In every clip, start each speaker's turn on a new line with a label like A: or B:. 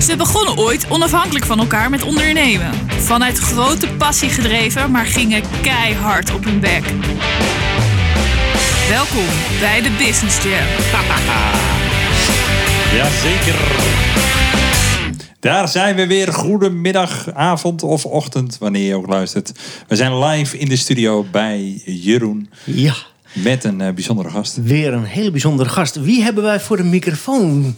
A: Ze begonnen ooit onafhankelijk van elkaar met ondernemen. Vanuit grote passie gedreven, maar gingen keihard op hun bek. Welkom bij de Business Jam.
B: Jazeker. Daar zijn we weer. Goedemiddag, avond of ochtend, wanneer je ook luistert. We zijn live in de studio bij Jeroen
C: Ja,
B: met een eh, bijzondere gast.
C: weer een hele bijzondere gast. Wie hebben wij voor de microfoon?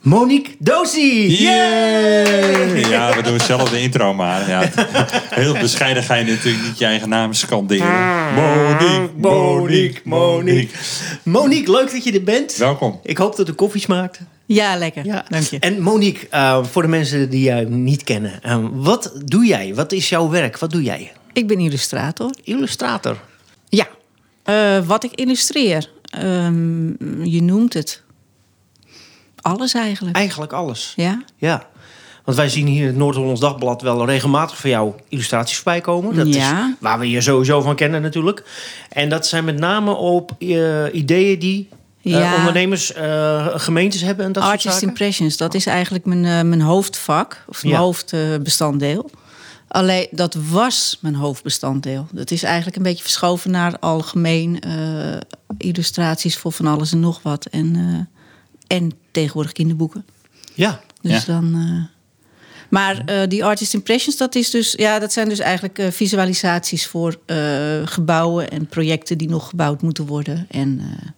C: Monique Dosi!
B: Yay! Ja, we doen zelf de intro maar. Ja, het- heel bescheiden ga je natuurlijk niet je eigen naam scanderen. Monique,
C: Monique, Monique. Monique, leuk dat je er bent.
B: Welkom.
C: Ik hoop dat de koffie smaakt.
D: Ja, lekker.
C: Ja.
D: Dank je.
C: En Monique, eh, voor de mensen die jou niet kennen. eh, wat doe jij? Wat is jouw werk? Wat doe jij?
D: Ik ben illustrator.
C: Illustrator.
D: Ja. Eh, wat ik illustreer. Ehm, je noemt het. Alles eigenlijk.
C: Eigenlijk alles.
D: Ja.
C: Ah, Ja. Want wij zien hier in het Noord-Hollands Dagblad wel regelmatig van jou illustraties voorbij komen. Dat
D: Ja.
C: is waar we je sowieso van kennen natuurlijk. En dat zijn met name op eh, ideeën die eh,
D: Ja.
C: ondernemers, eh, gemeentes hebben en dat soort
D: Artist
C: zaken. Oh.
D: Impressions, dat is eigenlijk mijn, eh, mijn hoofdvak. Of mijn
C: Ja.
D: hoofdbestanddeel. Alleen dat was mijn hoofdbestanddeel. Dat is eigenlijk een beetje verschoven naar algemeen eh, illustraties voor van alles en nog wat. En, eh, en tegenwoordig kinderboeken.
C: ja.
B: Ja.
D: Dus dan. eh, maar eh, die artist impressions, dat, is dus, ja, dat zijn dus eigenlijk eh, visualisaties voor eh, gebouwen en projecten die nog gebouwd moeten worden. En eh,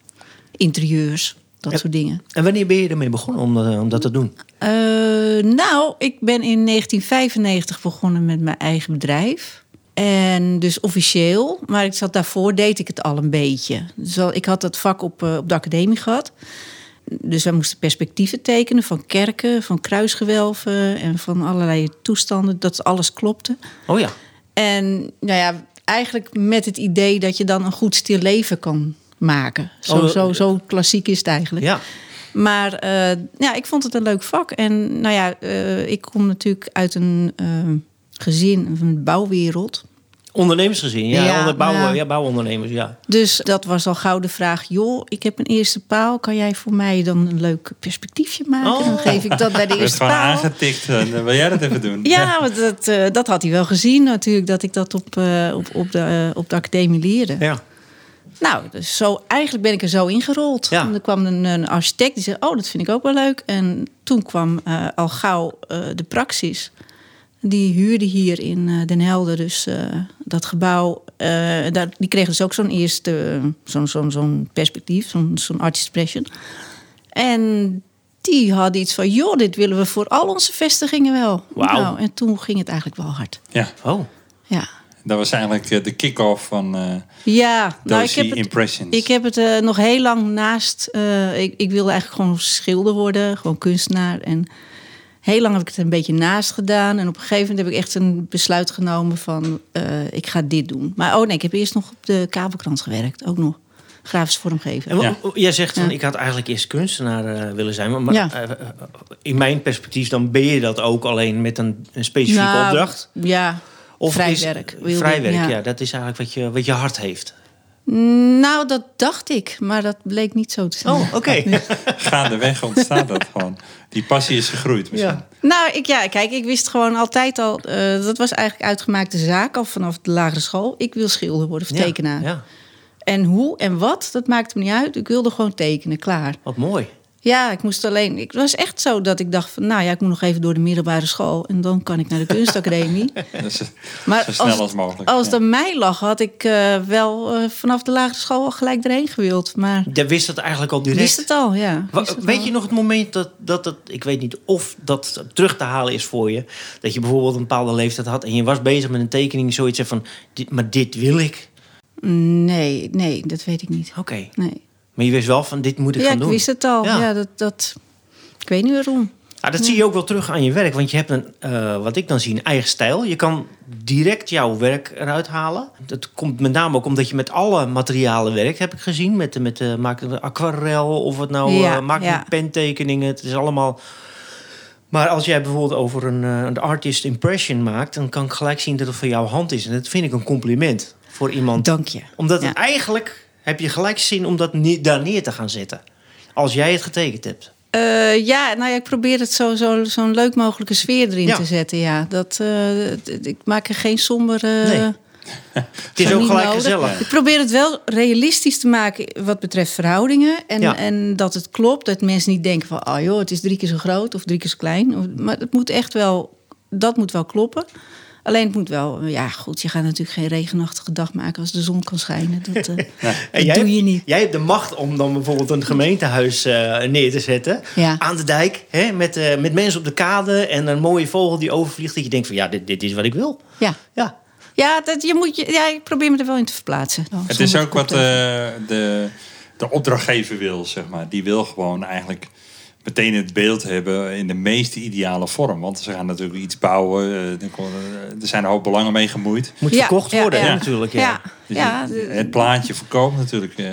D: interieurs, dat
C: Ja.
D: soort dingen.
C: En wanneer ben je ermee begonnen om, dat- om dat te doen?
D: Eh, nou, ik ben in 1995 begonnen met mijn eigen bedrijf. En dus officieel, maar ik zat daarvoor deed ik het al een beetje. Dus al- ik had dat vak op, eh, op de academie gehad. Dus wij moesten perspectieven tekenen van kerken, van kruisgewelven en van allerlei toestanden. Dat alles klopte.
C: Oh ja.
D: En nou ja, eigenlijk met het idee dat je dan een goed stil leven kan maken. Zo,
C: Oh,
D: zo, zo klassiek is het eigenlijk.
C: Ja.
D: Maar eh, ja, ik vond het een leuk vak. En nou ja, eh, ik kom natuurlijk uit een eh, gezin, een bouwwereld.
C: Ondernemersgezin. Ja,
D: Ja,
C: onder- bouw-
D: maar-
C: ja, bouwondernemers. Ja.
D: Dus dat was al gauw de vraag: joh, ik heb een eerste paal. Kan jij voor mij dan een leuk perspectiefje maken?
C: Oh.
D: Dan geef ik dat bij de
B: We
D: eerste
B: gewoon
D: paal.
B: aangetikt. En, eh, wil jij dat even doen?
D: Ja, want dat, eh, dat had hij wel gezien natuurlijk, dat ik dat op, eh, op, op, de, eh, op de academie leerde.
C: Ja.
D: Nou, dus zo, eigenlijk ben ik er zo ingerold.
C: Ja.
D: En er kwam een, een architect die zei, oh, dat vind ik ook wel leuk. En toen kwam eh, al gauw eh, de praxis. Die huurde hier in eh, Den Helder dus eh, dat gebouw. eh, daar, die kregen dus ook zo'n eerste, zo'n zo'n zo'n perspectief, zo'n zo'n artist expression. En die hadden iets van, joh, dit willen we voor al onze vestigingen wel.
C: Wauw.
D: Nou, en toen ging het eigenlijk wel hard.
B: ja.
C: Oh.
D: Ja.
B: Dat was eigenlijk eh, de kick-off van eh
D: Ja, nou, ik
B: Dozy
D: heb het,
B: Impressions.
D: Ik heb het eh, nog heel lang naast. eh, ik, ik wilde eigenlijk gewoon schilder worden, gewoon kunstenaar. En heel lang heb ik het een beetje naast gedaan. En op een gegeven moment heb ik echt een besluit genomen van eh, ik ga dit doen. Maar oh nee, ik heb eerst nog op de kabelkrant gewerkt, ook nog. Grafisch vormgeven.
C: En wa-
B: Ja.
C: Jij zegt van,
D: Ja.
C: ik had eigenlijk eerst kunstenaar eh, willen zijn. Maar, maar,
D: Ja.
C: eh, eh, in mijn perspectief, dan ben je dat ook alleen met een, een specifieke
D: Nou,
C: opdracht.
D: Ja,
C: Of
D: vrij
C: is-
D: werk. wilde ik,
C: Vrij werk, ja.
D: ja.
C: Dat is eigenlijk wat je, wat je hart heeft.
D: Nou, dat dacht ik, maar dat bleek niet zo te zijn.
C: Oh, oké.
B: Gaandeweg ontstaat dat gewoon. Die passie is gegroeid misschien.
C: Ja.
D: Nou, ik, ja, kijk, ik wist gewoon altijd al... eh, dat was eigenlijk uitgemaakte zaak al vanaf de lagere school. Ik wil schilder worden of tekenaar.
C: Ja,
D: En hoe en wat, dat maakte me niet uit. Ik wilde gewoon tekenen, klaar.
C: wat mooi.
D: Ja, ik moest alleen... Het was echt zo dat ik dacht van... nou ja, ik moet nog even door de middelbare school... en dan kan ik naar de kunstacademie.
B: Dus, eh,
D: Maar
B: zo snel als,
D: het-
B: mogelijk.
D: Als het
B: ja.
D: aan mij lag, had ik eh, wel eh, vanaf de lagere school al gelijk erheen gewild. Maar
C: Jij wist dat eigenlijk al direct.
D: wist het al, ja.
C: Wa-
D: Wist het
C: weet
D: al.
C: je nog het moment dat, dat dat, ik weet niet of dat terug te halen is voor je. Dat je bijvoorbeeld een bepaalde leeftijd had en je was bezig met een tekening. Zoiets zei van, dit, maar dit wil ik.
D: Nee, nee, dat weet ik niet.
C: Oké.
D: Nee.
C: Maar je wist wel van, dit moet ik
D: ja,
C: gaan
D: ik
C: doen.
D: wist het al.
C: Ja.
D: Ja, dat, dat... Ik weet niet waarom.
C: Ja, Ah, dat zie je ook wel terug aan je werk. Want je hebt een, eh, wat ik dan zie, een eigen stijl. Je kan direct jouw werk eruit halen. Dat komt met name ook omdat je met alle materialen werkt, heb ik gezien. Met, de- met de maak de aquarel of wat nou,
D: Ja,
C: eh, maakt
D: ja.
C: niet pentekeningen. Het is allemaal... Maar als jij bijvoorbeeld over een, eh, een artist impression maakt... dan kan ik gelijk zien dat het van jouw hand is. En dat vind ik een compliment voor iemand.
D: Dank je.
C: omdat
D: Ja.
C: het eigenlijk heb je gelijk zin om dat ne- daar neer te gaan zetten. Als jij het getekend hebt.
D: Eh, ja, nou ja, ik probeer het zo, zo, zo'n leuk mogelijke sfeer erin
C: Ja.
D: te zetten. Ja. Dat, eh, d- ik maak er geen sombere...
C: Nee. Het is ook
D: niet
C: gelijk
D: nodig.
C: gezellig.
D: Ik probeer het wel realistisch te maken wat betreft verhoudingen. En,
C: Ja.
D: en dat het klopt. Dat mensen niet denken van, ah joh, het is drie keer zo groot of drie keer zo klein. Of- Maar het moet echt wel, dat moet wel kloppen. Alleen het moet wel, ja goed, je gaat natuurlijk geen regenachtige dag maken als de zon kan schijnen. Dat, eh,
C: En
D: dat
C: jij,
D: doe
C: hebt-
D: je niet.
C: Jij hebt de macht om dan bijvoorbeeld een gemeentehuis eh, neer te zetten.
D: Ja.
C: Aan de dijk, hè, met, eh, met mensen op de kade en een mooie vogel die overvliegt. Dat je denkt van ja, dit, dit is wat ik wil.
D: Ja,
C: Ja,
D: ja, dat, je moet je, ja ik probeer me er wel in te verplaatsen. Oh,
B: Het is
D: zonder
B: ook wat
D: koptelefoon.
B: eh, de, de opdrachtgever wil, zeg maar. Die wil gewoon eigenlijk meteen het beeld hebben in de meest ideale vorm. Want ze gaan natuurlijk iets bouwen. eh, er kon- eh, er zijn een hoop belangen mee gemoeid.
C: moet
D: Ja,
C: verkocht
D: ja,
C: worden
D: ja.
C: natuurlijk. Ja.
D: Ja,
B: Dus
D: ja,
B: het, het plaatje verkoopt natuurlijk. eh,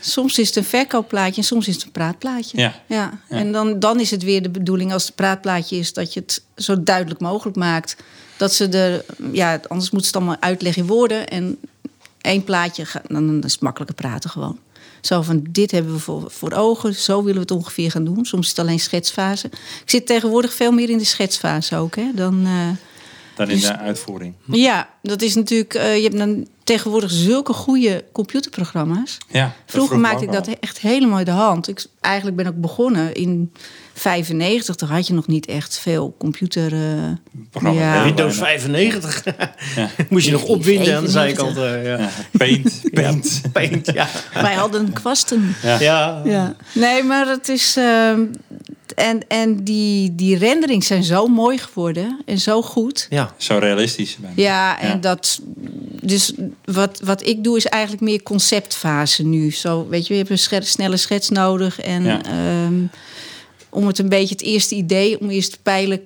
D: Soms is het een verkoopplaatje en soms is het een praatplaatje.
B: Ja. Ja.
D: En dan, dan is het weer de bedoeling als het praatplaatje is dat je het zo duidelijk mogelijk maakt. Dat ze de, ja, anders moeten ze het allemaal uitleggen in woorden. En één plaatje, ga- dan dan is het makkelijker praten gewoon. Zo van, dit hebben we voor, voor ogen, zo willen we het ongeveer gaan doen. Soms is het alleen schetsfase. Ik zit tegenwoordig veel meer in de schetsfase ook. Hè? Dan, eh,
B: dan in
D: Dus-
B: de uitvoering.
D: ja, dat is natuurlijk. eh, je hebt dan tegenwoordig zulke goede computerprogramma's.
B: Ja, dat vroeg
D: Vroeger
B: me
D: maakte
B: ook
D: ik dat
B: al.
D: echt helemaal uit de hand. Ik, eigenlijk ben ik begonnen in 95. Toen had je nog niet echt veel computer. eh,
B: Programma
D: Ja.
B: heel
C: Windows
B: weinig.
C: 95. Moest je nog opwinden aan de
D: 95.
C: zijkant. eh, ja.
B: Ja, paint, paint.
C: Paint, ja.
D: wij hadden kwasten.
B: Ja.
C: ja.
D: Ja. Nee, maar het is. ehm, en en die, die renderings zijn zo mooi geworden en zo goed.
C: Ja.
B: Zo realistisch. bijna.
D: Ja, en
B: Ja.
D: dat. Dus wat, wat ik doe is eigenlijk meer conceptfase nu. Zo, weet je, je hebt een scher- snelle schets nodig. En
B: Ja.
D: ehm, om het een beetje het eerste idee, om eerst te peilen.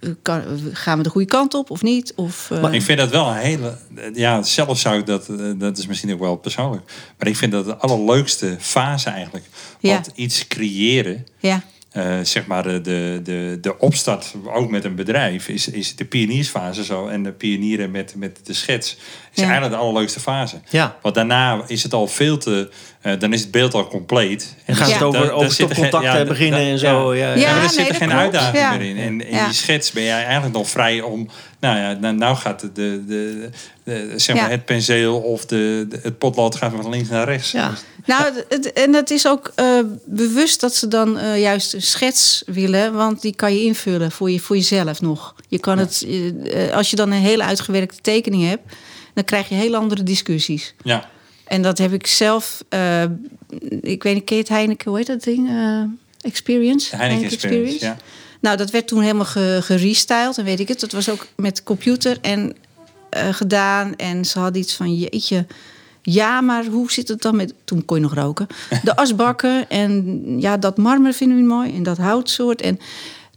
D: eh, kan- gaan we de goede kant op of niet? Of, eh,
B: Ik vind dat wel een hele. Ja, zelf zou ik dat. eh, Dat is misschien ook wel persoonlijk. Maar ik vind dat de allerleukste fase eigenlijk.
D: Ja.
B: Want iets creëren.
D: ja,
B: eh, zeg maar de, de, de, de opstart, ook met een bedrijf, is, is de pioniersfase zo. En de pionieren met, met de schets is
D: Ja.
B: eigenlijk de allerleukste fase.
C: Ja.
B: Want daarna is het al veel te... eh, dan is het beeld al compleet. En
C: Dan gaat
B: daar-
C: het over,
B: daar- daar
C: over
B: zit er geen-
C: stopcontacten
B: ja,
C: beginnen
B: daar-
C: en zo. Ja,
B: ja,
C: ja.
B: maar
D: Ja,
B: er zit
D: nee,
B: er
D: dat
B: geen
D: klopt.
B: uitdaging
D: Ja.
B: meer in. En in
D: Ja.
B: die schets ben jij eigenlijk nog vrij om... Nou ja, nou, nou gaat de, de, de, de- zeg maar
D: Ja.
B: het penseel of de, de- het potlood gaat van links naar rechts.
C: Ja.
D: Nou, het- het- en het is ook eh, bewust dat ze dan eh, juist een schets willen, want die kan je invullen voor, je, voor jezelf nog. Je kan het, eh, eh, als je dan een hele uitgewerkte tekening hebt, dan krijg je heel andere discussies.
B: Ja.
D: En dat heb ik zelf, eh, ik weet niet, Kate Heineken, hoe heet dat ding? Eh, experience?
B: De Heineken Experience,
D: Nou, dat werd toen helemaal ge- gerestyled en weet ik het. Dat was ook met computer en eh, gedaan. En ze hadden iets van, jeetje, ja, maar hoe zit het dan met... Toen kon je nog roken. De asbakken en ja, dat marmer vinden we mooi. En dat houtsoort. En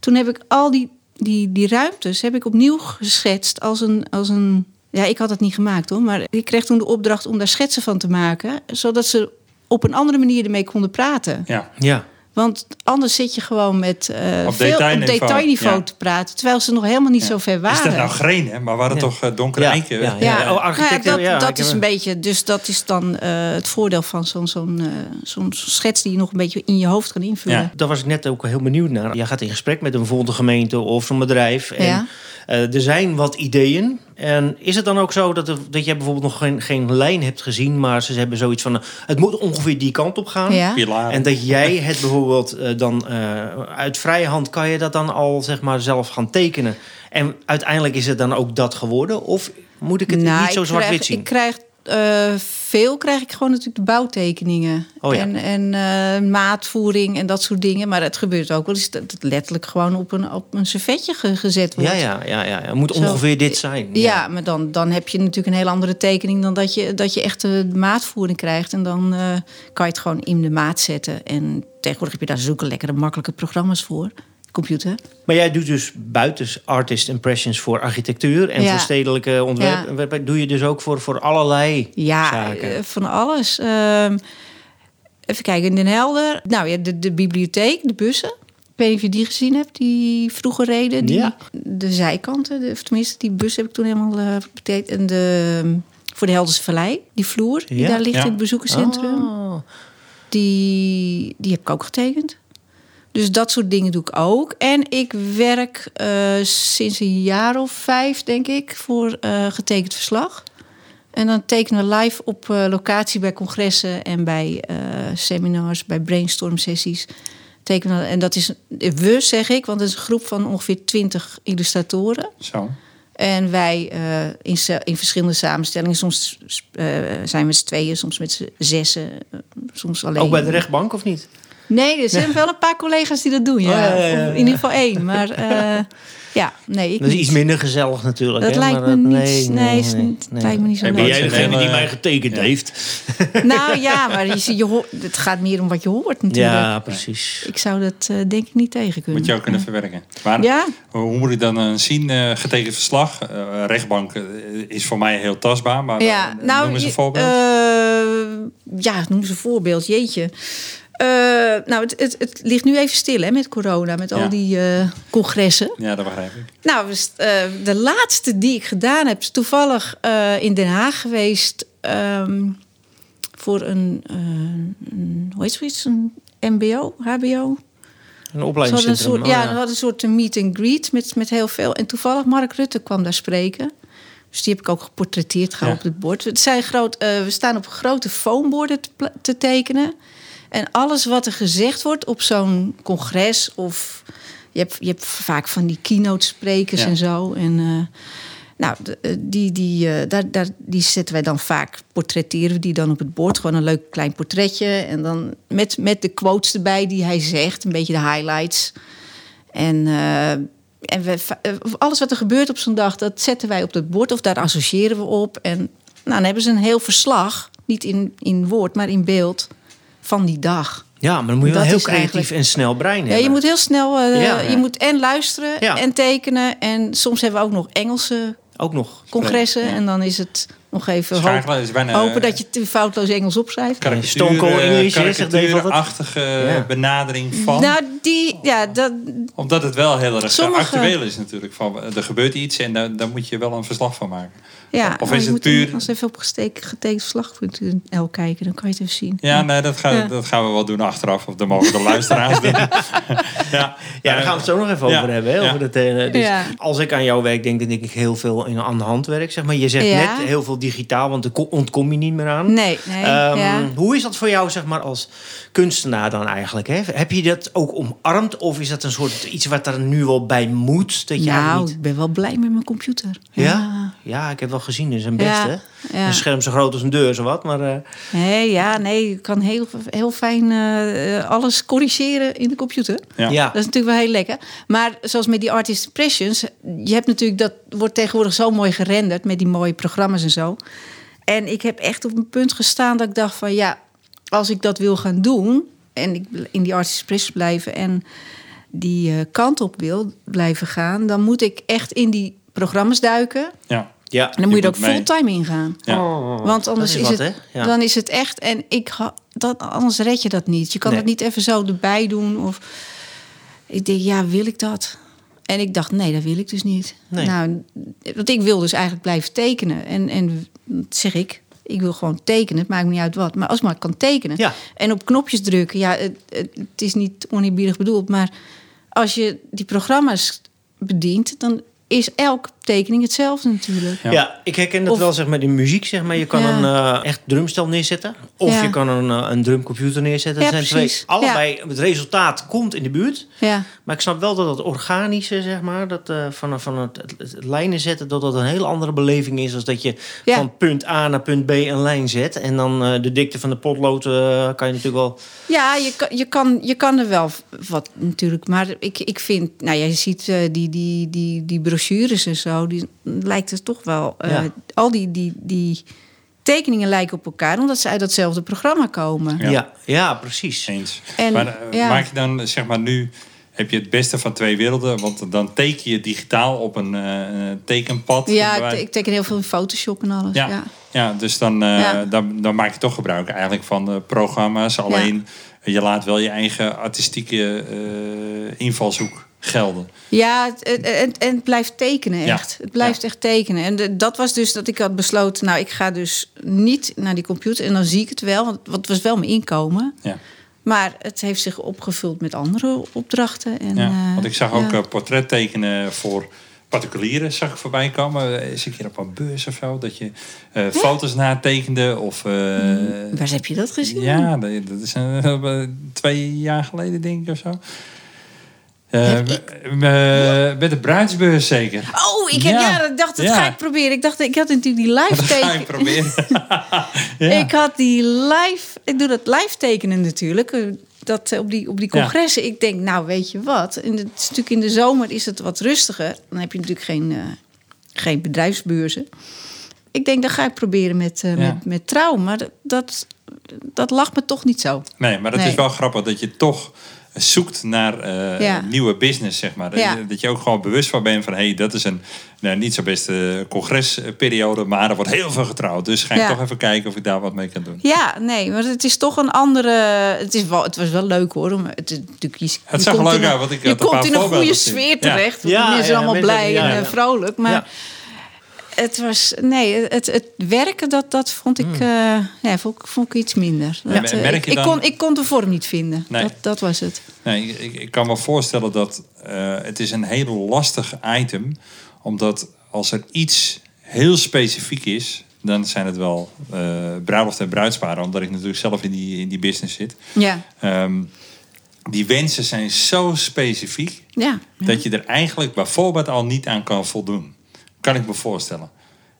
D: toen heb ik al die, die, die ruimtes heb ik opnieuw geschetst als een... Als een ja, ik had het niet gemaakt hoor. Maar ik kreeg toen de opdracht om daar schetsen van te maken. Zodat ze op een andere manier ermee konden praten.
B: ja.
C: Ja.
D: Want anders zit je gewoon met eh,
B: Op
D: veel
B: detailniveau,
D: op detailniveau
B: ja.
D: te praten. Terwijl ze nog helemaal niet
B: Ja.
D: zo ver
B: Is
D: waren.
B: dat nou green, hè? Maar waren het
C: Ja.
B: toch eh, donkere
C: Ja,
B: eiken?
C: ja,
D: ja,
C: oh, architecten,
D: Nou ja,
C: ja,
D: dat,
C: ik
D: dat is
C: heb-
D: een beetje. Dus dat is dan eh, het voordeel van zo'n zo'n eh, zo'n schets die je nog een beetje in je hoofd kan invullen.
B: Ja.
C: Daar was ik net ook heel benieuwd naar. Jij gaat in gesprek met een volgende gemeente of een bedrijf. En,
D: Ja.
C: eh, er zijn wat ideeën. En is het dan ook zo dat, er, dat jij bijvoorbeeld nog geen, geen lijn hebt gezien... maar ze hebben zoiets van, eh, het moet ongeveer die kant op gaan.
D: Ja.
B: Pilaren.
C: En dat jij het bijvoorbeeld eh, dan eh, uit vrije hand... kan je dat dan al zeg maar, zelf gaan tekenen. En uiteindelijk is het dan ook dat geworden? Of moet ik het
D: Nou,
C: niet zo
D: ik
C: zwart-wit
D: krijg-
C: zien?
D: Ik krijg eh, veel krijg ik gewoon natuurlijk de bouwtekeningen
C: Oh ja.
D: en, en eh, maatvoering en dat soort dingen. Maar het gebeurt ook wel eens dat het letterlijk gewoon op een, op een servetje ge- gezet wordt.
C: Ja, ja, ja, ja. Het moet
D: Zo.
C: ongeveer dit zijn.
D: Ja, maar dan, dan heb je natuurlijk een heel andere tekening dan dat je, dat je echt de maatvoering krijgt. En dan eh, kan je het gewoon in de maat zetten. En tegenwoordig heb je daar zulke lekkere, makkelijke programma's voor. Computer.
C: Maar jij doet dus buiten artist impressions voor architectuur en
D: Ja.
C: voor stedelijke ontwerp. Doe je dus ook voor, voor allerlei
D: Ja,
C: zaken.
D: eh, van alles. Ehm, even kijken, in Den Helder. Nou ja, de, de bibliotheek, de bussen. Ik weet niet of je die gezien hebt, die vroeger reden. Die,
C: Ja.
D: De zijkanten, de, of tenminste, die bus heb ik toen helemaal eh betekend. En de, ehm, voor de Helderse Vallei, die vloer die
C: Ja.
D: daar ligt
B: Ja.
D: in het bezoekerscentrum.
C: Oh.
D: Die, die heb ik ook getekend. Dus dat soort dingen doe ik ook. En ik werk eh, sinds een jaar of vijf, denk ik, voor eh, getekend verslag. En dan tekenen we live op eh, locatie bij congressen en bij eh, seminars, bij brainstormsessies. Tekenen, we- en dat is we, zeg ik, want het is een groep van ongeveer twintig illustratoren.
B: Zo.
D: En wij eh, in, se- in verschillende samenstellingen, soms eh, zijn we met z'n tweeën, soms met z'n zessen, eh, soms alleen.
C: Ook bij de rechtbank of niet?
D: Nee, er zijn wel een paar collega's die dat doen, ja.
C: Oh, ja, ja, ja,
D: Of
C: ja.
D: in ieder geval één. Maar eh, ja, nee, ik
C: Dat is
D: niet.
C: iets minder gezellig natuurlijk.
D: Dat
C: hè,
D: lijkt
C: maar
D: me
C: dat- nee,
D: niet. Nee, is niet- lijkt me niet zo
C: En
D: leuk.
C: getekend heeft?
D: Nou ja, maar je, ziet- je hoort- het gaat meer om wat je hoort natuurlijk.
C: Ja, precies.
D: Ik zou dat eh, denk ik niet tegen kunnen.
B: Moet je ook kunnen verwerken. Maar
D: Ja.
B: hoe hoe moet ik dan eh, zien? eh, getekend verslag. Eh, rechtbank eh, is voor mij heel tastbaar. Maar
D: Ja,
B: eh,
D: nou,
B: noem eens een
D: je-
B: voorbeeld.
D: eh, ja, noem eens een voorbeeld. Jeetje. Eh, nou, het, het, het ligt nu even stil hè, met corona, met
B: Ja.
D: al die eh, congressen.
B: ja, dat begrijp ik.
D: Nou, we st- eh, de laatste die ik gedaan heb, is toevallig eh, in Den Haag geweest ehm, voor een, eh, een- hoe heet zoiets? Een MBO, HBO?
C: Een
D: Ze hadden een
C: opleidingscentrum.
D: soort,
C: oh
D: ja, we hadden een soort meet and greet met, met heel veel. En toevallig Mark Rutte kwam daar spreken. Dus die heb ik ook geportretteerd gauw
B: Ja.
D: op het bord. Het zijn groot, eh, we staan op grote foamborden te, pla- te tekenen. En alles wat er gezegd wordt op zo'n congres of... Je hebt, je hebt vaak van die keynote sprekers
B: Ja.
D: en zo. En, eh, nou, de- eh, die, die, eh, daar, daar, die zetten wij dan vaak, portretteren we die dan op het bord. Gewoon een leuk klein portretje. En dan met, met de quotes erbij die hij zegt, een beetje de highlights. En, eh, en we, va- eh, alles wat er gebeurt op zo'n dag, dat zetten wij op dat bord of daar associëren we op. En nou, dan hebben ze een heel verslag, niet in, in woord, maar in beeld, van die dag.
C: Ja, maar dan moet je wel
D: Dat
C: heel
D: is
C: creatief
D: eigenlijk-
C: en snel brein
D: Ja,
C: hebben.
D: je moet heel snel, eh,
C: Ja, ja.
D: je moet en luisteren
C: Ja.
D: en tekenen. En soms hebben we ook nog Engelse
C: Ook nog.
D: congressen. En dan is het nog even hoop-
B: Schakelen Dus is bijna... eh,
D: hopen dat je het in foutloos Engels opschrijft.
B: karikatuur,
C: Stone Cold
B: eh,
C: English, hè, zegt Dave altijd.
B: karikatuurachtige eh,
C: Ja.
B: benadering van.
D: Nou, die, ja, dat,
B: Omdat het wel heel erg
D: Sommige-
B: actueel is natuurlijk. Van, eh, er gebeurt iets en daar, daar moet je wel een verslag van maken.
D: ja.
B: Of
D: maar
B: is het
D: je moet
B: puur-
D: hem- Als even op gesteken, getekend slagpunt kijken, dan kan je het even zien.
B: Ja, nee, dat, ga,
D: Ja.
B: dat gaan we wel doen achteraf. Of dan mogen de luisteraars doen. Ja,
C: Ja, daar gaan we het zo nog even
B: Ja,
C: over hebben. Hè,
B: ja.
C: over dat, eh, dus
D: Ja.
C: Als ik aan jouw werk denk, dan denk ik heel veel in, aan de hand werk. Zeg maar. Je zegt
D: Ja.
C: net heel veel digitaal, want daar ko- ontkom je niet meer aan.
D: Nee, nee.
C: Ehm,
D: ja. Nou,
C: Hoe is dat voor jou zeg maar, als kunstenaar dan eigenlijk? Hè? Heb je dat ook omarmd? Of is dat een soort iets wat er nu wel bij moet? Dat je eigenlijk
D: Nou,
C: niet...
D: ik ben wel blij met mijn computer.
C: Ja? ja, ik heb wel gezien. Dat is een beste.
D: Ja,
C: hè?
D: ja.
C: Een scherm zo groot als een deur, zo wat. Maar eh,
D: Nee, ja, nee, je kan heel, heel fijn eh, eh, alles corrigeren in de computer.
B: Ja.
C: ja.
D: Dat is natuurlijk wel heel lekker. Maar zoals met die artist impressions, je hebt natuurlijk dat wordt tegenwoordig zo mooi gerenderd met die mooie programma's en zo. En ik heb echt op een punt gestaan dat ik dacht van ja, als ik dat wil gaan doen en ik wil in die artist impressions blijven en die eh, kant op wil blijven gaan, dan moet ik echt in die programma's duiken.
B: Ja.
C: ja.
D: En dan moet je er
B: moet mee.
D: ook fulltime in gaan.
B: Ja.
D: Want anders
C: is
D: is,
C: wat,
D: het,
C: hè? Ja.
D: dan is het echt. En ik ha- dat, anders red je dat niet. Je kan
C: Nee.
D: dat niet even zo erbij doen. Of ik denk, ja, wil ik dat? En ik dacht, nee, dat wil ik dus niet.
C: Nee.
D: Nou, want ik wil dus eigenlijk blijven tekenen. En, en dat zeg ik, ik wil gewoon tekenen. Het maakt me niet uit wat. Maar als ik maar kan tekenen.
C: Ja.
D: En op knopjes drukken. Ja, het, het, het is niet oneerbiedig bedoeld. Maar als je die programma's bedient, dan is elke tekening hetzelfde natuurlijk.
B: Ja.
C: Ja. ik herken dat
D: Of-
C: wel zeg maar, in muziek. Zeg maar. Je kan
D: Ja.
C: een eh, echt drumstel neerzetten. Of
D: Ja.
C: je kan een, eh, een drumcomputer neerzetten.
D: Ja,
C: Dat zijn twee,
D: precies. Ja.
C: allebei, het resultaat komt in de buurt.
D: Ja.
C: Maar ik snap wel dat dat organische, zeg maar, dat, eh, van, van het, het- het lijnen zetten, dat dat een hele andere beleving is. Als dat je
D: Ja.
C: van punt A naar punt B een lijn zet. En dan eh, de dikte van de potlood eh, kan je natuurlijk wel.
D: Ja, je kan, je, kan, je kan er wel wat natuurlijk. Maar ik, ik vind, nou jij ziet eh, die, die, die, die brochures en zo, die lijkt er toch wel. eh,
C: Ja.
D: Al die, die, die tekeningen lijken op elkaar, omdat ze uit datzelfde programma komen.
B: Ja.
C: Ja, ja, precies.
B: Eens.
D: En,
B: maar eh,
D: ja.
B: maak je dan, zeg maar nu, heb je het beste van twee werelden. Want dan teken je digitaal op een eh, eh, tekenpad.
D: Ja, ik,
B: Waar-
D: te- ik teken heel veel in Photoshop en alles.
B: ja.
D: Ja,
B: Ja. dus dan, eh,
D: Ja.
B: dan, dan maak je toch gebruik eigenlijk van eh, programma's. Alleen je laat wel je eigen artistieke eh, invalshoek gelden.
D: ja het- het- en, en het blijft tekenen
B: Ja.
D: echt. Het blijft echt tekenen. En de- dat was dus dat ik had besloten, nou ik ga dus niet naar die computer en dan zie ik het wel, want want het was wel mijn inkomen.
B: Ja.
D: Maar het heeft zich opgevuld met andere opdrachten. En,
B: Ja,
D: eh,
B: want ik zag ook
D: ja.
B: eh, portret tekenen voor particulieren, zag ik voorbij komen. Eh, Is een keer op een beurs of zo, dat je eh, foto's natekende of... eh,
D: Mm, Waar heb je dat gezien?
B: ja, dat dat is eh, twee jaar geleden denk ik of zo. Eh,
D: Heb
B: eh, met de bruidsbeurs zeker.
D: Oh, ik, heb,
B: Ja.
D: ja. ik dacht, dat
B: Ja.
D: ga ik proberen. Ik dacht, ik had natuurlijk die
B: Dat
D: live
B: ga ik
D: teken.
B: proberen. ja.
D: Ik had die live... Ik doe dat live tekenen natuurlijk. eh, Dat eh, op die, op die
B: Ja.
D: congressen. Ik denk, nou weet je wat. In de, het is natuurlijk in de zomer is het wat rustiger. Dan heb je natuurlijk geen, eh, geen bedrijfsbeurzen. Ik denk, dan ga ik proberen met, eh,
B: Ja.
D: met, met trouw. Maar dat- dat, dat lag me toch niet zo.
B: Nee, maar het
D: Nee.
B: is wel grappig dat je toch zoekt naar eh,
D: Ja.
B: nieuwe business, zeg maar. Dat
D: Ja.
B: je- Dat je ook gewoon bewust van bent van... hé, hey, dat is een nou, niet zo beste congresperiode... maar er wordt heel veel getrouwd. Dus ga ik
D: Ja.
B: toch even kijken of ik daar wat mee kan doen.
D: Ja, nee, maar het is toch een andere. Het, is wel, het was wel leuk hoor. Om, het, is natuurlijk, je,
B: Het
D: je
B: zag er
D: komt
B: leuk
D: in een-
B: uit, want ik
D: Je
B: had een
D: komt
B: paar
D: in een
B: voorbeelden
D: goede
B: gezien.
D: sfeer
B: Ja.
D: terecht. want
C: Ja,
D: mensen zijn
C: ja,
D: allemaal
C: mensen-
D: blij
C: ja,
D: en eh,
C: ja.
D: vrolijk. Maar
C: Ja.
D: het was. Nee, het, het werken, dat, dat vond ik,
C: Hmm.
D: eh, ja, vond, ik- vond ik iets minder.
B: En
D: Dat, eh,
B: merk
D: ik,
B: je
D: ik
B: dan-
D: kon, ik kon de vorm niet vinden.
B: Nee.
D: Dat, dat was het.
B: Nee, ik, ik kan me voorstellen dat eh, het is een heel lastig item. Omdat als er iets heel specifiek is, dan zijn het wel eh bruiloft en bruidsparen. Omdat ik natuurlijk zelf in die, in die business zit.
D: Ja,
B: Ehm, die wensen zijn zo specifiek
D: ja.
B: dat je er eigenlijk bijvoorbeeld al niet aan kan voldoen. Kan ik me voorstellen.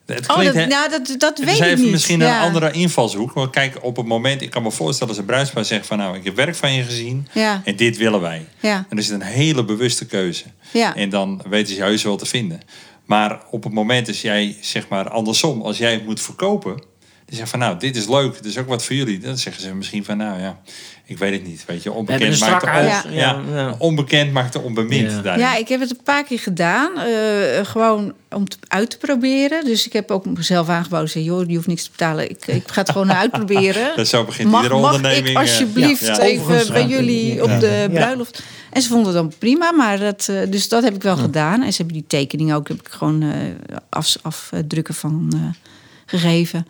B: Het
D: Oh, dat,
B: hè-
D: nou, dat,
B: het
D: dat
B: is
D: weet ik
B: even
D: niet.
B: misschien
D: Ja.
B: een andere invalshoek. Want kijk, op het moment, ik kan me voorstellen als een bruidspaar zegt van nou, ik heb werk van je gezien
D: Ja.
B: en dit willen wij.
D: Ja.
B: En er zit een hele bewuste keuze.
D: Ja.
B: En dan weten ze je heus wel te vinden. Maar op het moment als jij, zeg maar andersom, als jij het moet verkopen, dan zeg je van nou, dit is leuk, dit is ook wat voor jullie. Dan zeggen ze misschien van nou ja, ik weet het niet, weet je,
C: hebben
B: onbekend
C: een
B: maakt de
C: strak
B: on,
D: huis.
B: ja.
C: Ja, ja.
B: onbekend maakt de onbemind.
C: Ja.
B: daarin.
D: Ja, ik heb het een paar keer gedaan. eh, gewoon om het uit te proberen. Dus ik heb ook mezelf aangeboden. Zei, joh, je hoeft niks te betalen. Ik, ik ga het gewoon uitproberen.
B: Dat zo begint
D: mag,
B: iedere
D: mag
B: onderneming,
D: ik
B: eh,
D: alsjeblieft
B: ja.
D: even bij
C: Overigens,
D: jullie
C: ja.
D: op de
C: Ja.
D: bruiloft? En ze vonden het dan prima. Maar dat, eh, dus dat heb ik wel gedaan. En ze hebben die tekening ook heb ik gewoon eh, afs- afdrukken van eh, gegeven.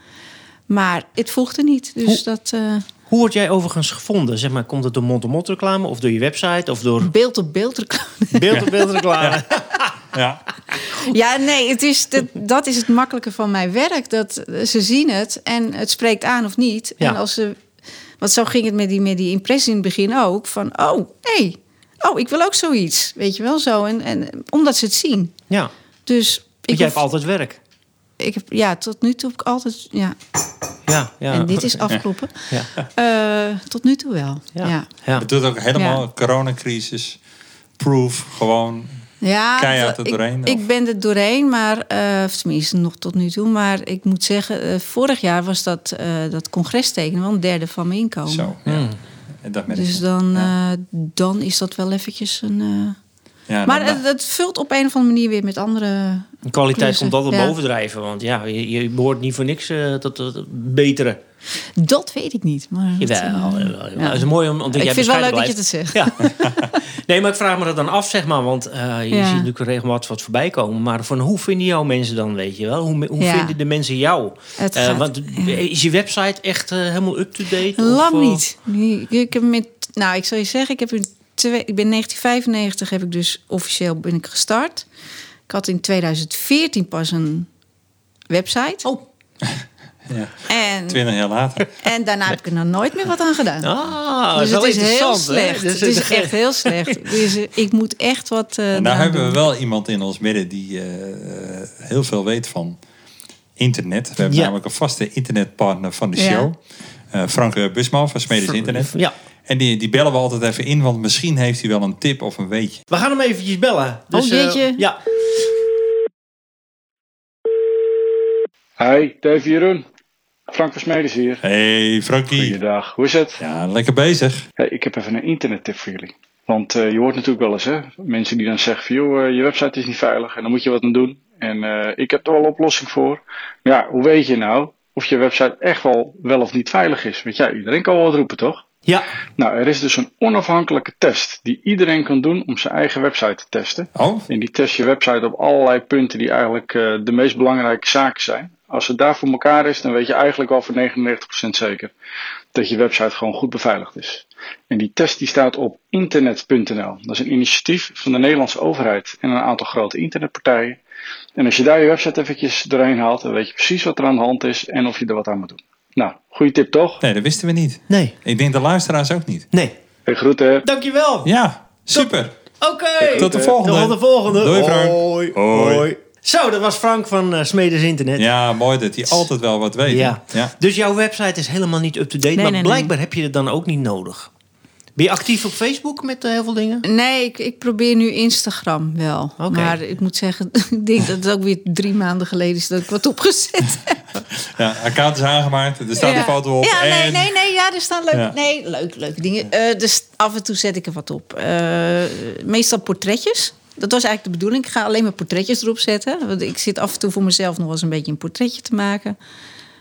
D: Maar het volgde niet. Dus
C: Hoe-
D: dat eh,
C: Hoe word jij overigens gevonden? Zeg maar, komt het door mond-op-mond reclame of door je website of door
D: beeld op beeld reclame.
C: beeld-op-beeld reclame?
B: Ja.
D: Ja, nee, het is, dat, dat is het makkelijke van mijn werk. Dat eh, ze zien het en het spreekt aan of niet.
C: Ja.
D: En als ze, want zo ging het met die, met die impressie in het begin ook. Van, oh, hé, hey, oh, ik wil ook zoiets. Weet je wel, zo. En, en eh, omdat ze het zien.
C: Ja, want
D: Dus
C: jij
D: ik, hoef-
C: hebt altijd werk.
D: ik heb, ja, tot nu toe heb ik altijd, ja.
C: Ja, ja.
D: En dit is afkloppen.
C: Ja.
D: Eh, tot nu toe wel, ja.
C: Ja.
D: ja.
C: Ja.
B: Het doet ook helemaal
D: Ja.
B: coronacrisis. Proof, gewoon. Keihard
D: dat-
B: er doorheen,
D: Ik,
B: of?
D: ik ben er doorheen, maar eh, of tenminste nog tot nu toe. Maar ik moet zeggen, eh, vorig jaar was dat, eh dat congres tekenen wel een derde van mijn inkomen.
B: Zo. Ja. En dat merk
D: Dus
B: je.
D: dan,
B: Ja.
D: eh, dan is dat wel eventjes een. eh,
B: Ja,
D: maar
B: dan-
D: het, het vult op een of andere manier weer met andere.
C: De kwaliteit
D: Klussen,
C: komt altijd
D: ja.
C: bovendrijven. Want ja, je, je behoort niet voor niks eh, tot het betere.
D: Dat weet ik niet. Maar dat,
C: Jawel,
D: eh,
C: jawel, jawel.
D: ja.
C: Dat is mooi om, omdat
D: Ik
C: jij
D: vind het wel leuk dat
C: bescheiden
D: je het zegt.
C: blijft. Ja. nee, maar ik vraag me dat dan af, zeg maar. Want eh, je
D: Ja.
C: ziet natuurlijk regelmatig wat voorbij komen. Maar van hoe vinden jouw mensen dan, weet je wel? Hoe, hoe
D: Ja.
C: vinden de mensen jou?
D: Het
C: Eh,
D: gaat-
C: want is je website echt eh, helemaal up-to-date? of,
D: Lang
C: eh,
D: niet. Nee, ik- Ik heb met, nou, ik zal je zeggen, ik, heb in twee, ik ben 1995 heb ik dus officieel ben ik gestart. Ik had in 2014 pas een website.
C: Oh.
B: Ja.
D: En,
B: 20 jaar later.
D: en daarna heb ik er nou nooit meer wat aan gedaan.
C: Ah, dat
D: dus
C: is wel
D: het is heel
C: interessant. hè?
D: slecht.
C: Dus
D: het is echt heel slecht. Dus eh, ik moet echt wat. eh
B: En Nou, daar
D: eraan
B: hebben we
D: doen.
B: wel iemand in ons midden die eh, eh, heel veel weet van internet. We hebben
C: Ja.
B: namelijk een vaste internetpartner van de
D: Ja.
B: show. Eh, Frank eh, Busman van Smedes Internet.
C: Ja.
B: En die, die bellen we altijd even in, want misschien heeft hij wel een tip of een weetje.
C: We gaan hem eventjes bellen. Dus, eh,
D: Oh, jeetje.
C: ja.
E: Hi, Dave Jeroen. Frank Versmedes hier.
B: Hey Frankie.
E: Goeiedag, hoe is het?
B: Ja, lekker bezig.
E: Hey, ik heb even een internettip voor jullie. Want eh, je hoort natuurlijk wel eens hè, mensen die dan zeggen van joh, eh, je website is niet veilig en dan moet je wat aan doen. En eh, ik heb er wel een oplossing voor. Maar ja, hoe weet je nou of je website echt wel, wel of niet veilig is? Want ja, iedereen kan wel wat roepen toch?
C: Ja.
E: Nou, er is dus een onafhankelijke test die iedereen kan doen om zijn eigen website te testen.
B: Oh,
E: En die test je website op allerlei punten die eigenlijk eh, de meest belangrijke zaken zijn. Als het daar voor elkaar is, dan weet je eigenlijk al voor 99% zeker dat je website gewoon goed beveiligd is. En die test die staat op internet.nl. Dat is een initiatief van de Nederlandse overheid en een aantal grote internetpartijen. En als je daar je website eventjes doorheen haalt, dan weet je precies wat er aan de hand is en of je er wat aan moet doen. Nou, goede tip toch?
B: Nee, dat wisten we niet.
C: Nee.
B: Ik denk de luisteraars ook niet.
C: Nee.
E: Hey, groeten.
C: Dankjewel.
B: Ja, super.
C: Oké.
B: Tot de volgende.
C: Tot de volgende.
B: Doei Frank.
C: Hoi. Hoi. Zo, dat was Frank van eh, Smedes Internet.
B: Ja, mooi dat hij altijd wel wat weet.
C: Ja.
B: ja.
C: Dus jouw website is helemaal niet up-to-date.
D: Nee,
C: maar
D: nee, nee.
C: blijkbaar heb je het dan ook niet nodig. Ben je actief op Facebook met eh, heel veel dingen?
D: Nee, ik, ik probeer nu Instagram wel.
C: Oké.
D: Maar ik moet zeggen, ik denk dat het ook weer drie maanden geleden is dat ik wat opgezet heb.
B: Ja, account is aangemaakt. Er staat
D: ja.
B: een foto op.
D: Ja, nee,
B: en-
D: nee, nee. Ja, er staan leuke,
B: Ja.
D: nee, leuk, leuke dingen. Eh, dus af en toe zet ik er wat op. Eh, meestal portretjes. Dat was eigenlijk de bedoeling. Ik ga alleen maar portretjes erop zetten. Want ik zit af en toe voor mezelf nog wel eens een beetje een portretje te maken.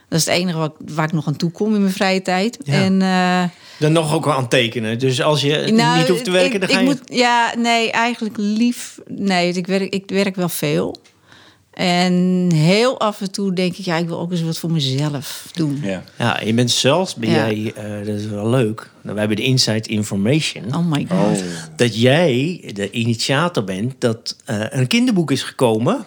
D: Dat is het enige wat, waar ik nog aan toe kom in mijn vrije tijd.
C: Ja.
D: En, eh,
C: Dan nog ook wel aan tekenen. Dus als je het
D: nou,
C: niet hoeft te werken,
D: ik,
C: dan ga
D: ik
C: je...
D: moet, Ja, nee, eigenlijk lief... Nee, ik werk, ik werk wel veel. En heel af en toe denk ik... Ja, ik wil ook eens wat voor mezelf doen.
B: Ja.
C: Ja, je bent zelfs, ben
D: Ja.
C: jij, eh, dat is wel leuk. Nou, wij hebben de Inside Information.
D: Oh my god.
B: Oh.
C: Dat jij de initiator bent dat eh, een kinderboek is gekomen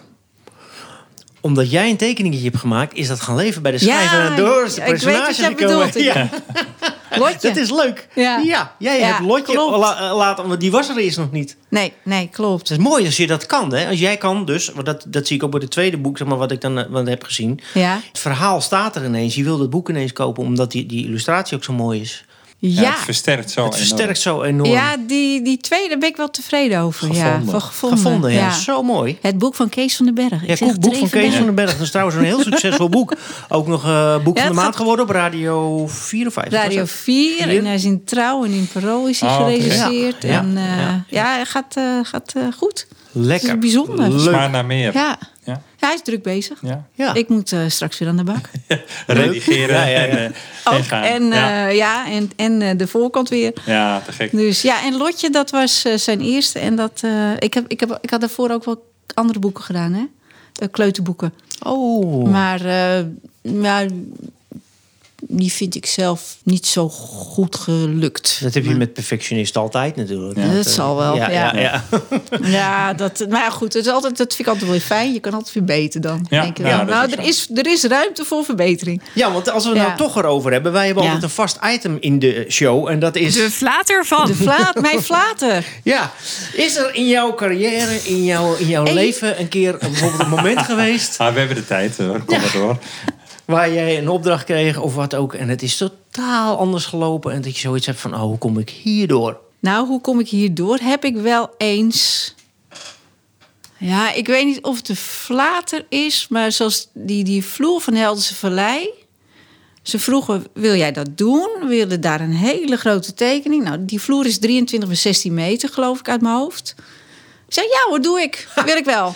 C: omdat jij een tekeningetje hebt gemaakt, is dat gaan leven bij de
D: Ja,
C: schrijver en door is de
D: ik weet wat
C: personage
D: jij
C: gekomen.
D: bedoelt.
C: Ja,
D: Lotje.
C: dat is leuk. Ja,
D: Ja.
C: jij
D: Ja,
C: hebt Lotje
D: klopt.
C: la- eh, laten, want die was er eerst nog niet.
D: Nee, nee, klopt.
C: Het is mooi als je dat kan. Hè? Als jij kan dus, want dat, dat zie ik ook bij het tweede boek, zeg maar, wat ik dan eh, wat heb gezien.
D: Ja.
C: Het verhaal staat er ineens. Je wil dat boek ineens kopen omdat die, die illustratie ook zo mooi is.
B: Ja,
D: Ja,
B: Het versterkt zo
C: Het
B: enorm.
C: versterkt zo enorm.
D: ja die, die tweede daar ben ik wel tevreden over. Ja,
B: Gevonden.
D: van gevonden.
C: Gevonden, ja. Zo mooi.
D: Het boek van Kees van den Berg. Ik
C: Ja,
D: zeg
C: het
D: het
C: boek
D: er
C: van
D: even
C: Kees
D: bij.
C: van den Berg. Dat is trouwens een heel succesvol boek. Ook nog eh, boek
D: Ja,
C: van de
D: het
C: maand
D: gaat-
C: geworden op Radio 4 of 5.
D: Radio 4.
C: Hier.
D: En hij is in Trouw en in Parool is hij
B: Ah, oké.
D: geregisseerd.
C: Ja, ja,
D: En eh,
C: ja.
D: ja, het gaat, eh, gaat eh, goed.
C: Lekker.
D: Het is bijzonder.
C: Leuk.
B: Smaar naar meer.
D: Ja.
B: Ja.
D: ja, hij is druk bezig.
B: Ja.
C: Ja.
D: Ik moet eh, straks weer aan de bak.
B: Redigeren
C: Ja, ja, ja.
B: en, eh, en
D: Ook,
B: gaan.
D: en
B: ja.
D: ja, ja en, en eh, de voorkant weer.
B: ja, te gek.
D: Dus ja, en Lotje, dat was eh, zijn eerste. En dat, eh, ik, heb, ik, heb, ik had daarvoor ook wel andere boeken gedaan, hè? Eh, kleuterboeken.
C: Oh.
D: Maar eh, ja, die vind ik zelf niet zo goed gelukt.
C: dat heb je met perfectionist altijd natuurlijk.
D: Ja, dat zal wel,
C: ja.
D: ja.
C: ja.
D: Ja, dat, maar ja, goed, het is altijd, dat vind ik altijd wel weer fijn. Je kan altijd weer beter dan.
B: Ja,
D: denk ik
B: ja,
D: wel.
B: dat is
D: nou,
B: ook
D: er
B: zo.
D: is, er is ruimte voor verbetering.
C: Ja, want als we het
D: Ja.
C: nou toch erover hebben, wij hebben
D: Ja.
C: altijd een vast item in de show. En dat is.
A: De flater
B: Oh.
A: van.
D: De vlaat, mijn flater.
C: Ja, is er in jouw carrière, in jouw, in jouw
D: Hey.
C: leven een keer bijvoorbeeld een moment geweest
B: Ah, we hebben de tijd hoor. Kom maar door.
C: waar jij een opdracht kreeg of wat ook. En het is totaal anders gelopen. En dat je zoiets hebt van, oh, hoe kom ik hierdoor?
D: Nou, hoe kom ik hierdoor? Heb ik wel eens. Ja, ik weet niet of het de flater is, maar zoals die, die vloer van Helderse Vallei. Ze vroegen, wil jij dat doen? We wilden daar een hele grote tekening. Nou, die vloer is 23 bij 16 meter, geloof ik, uit mijn hoofd. Ik zei, ja hoor, doe ik. Wil ik wel.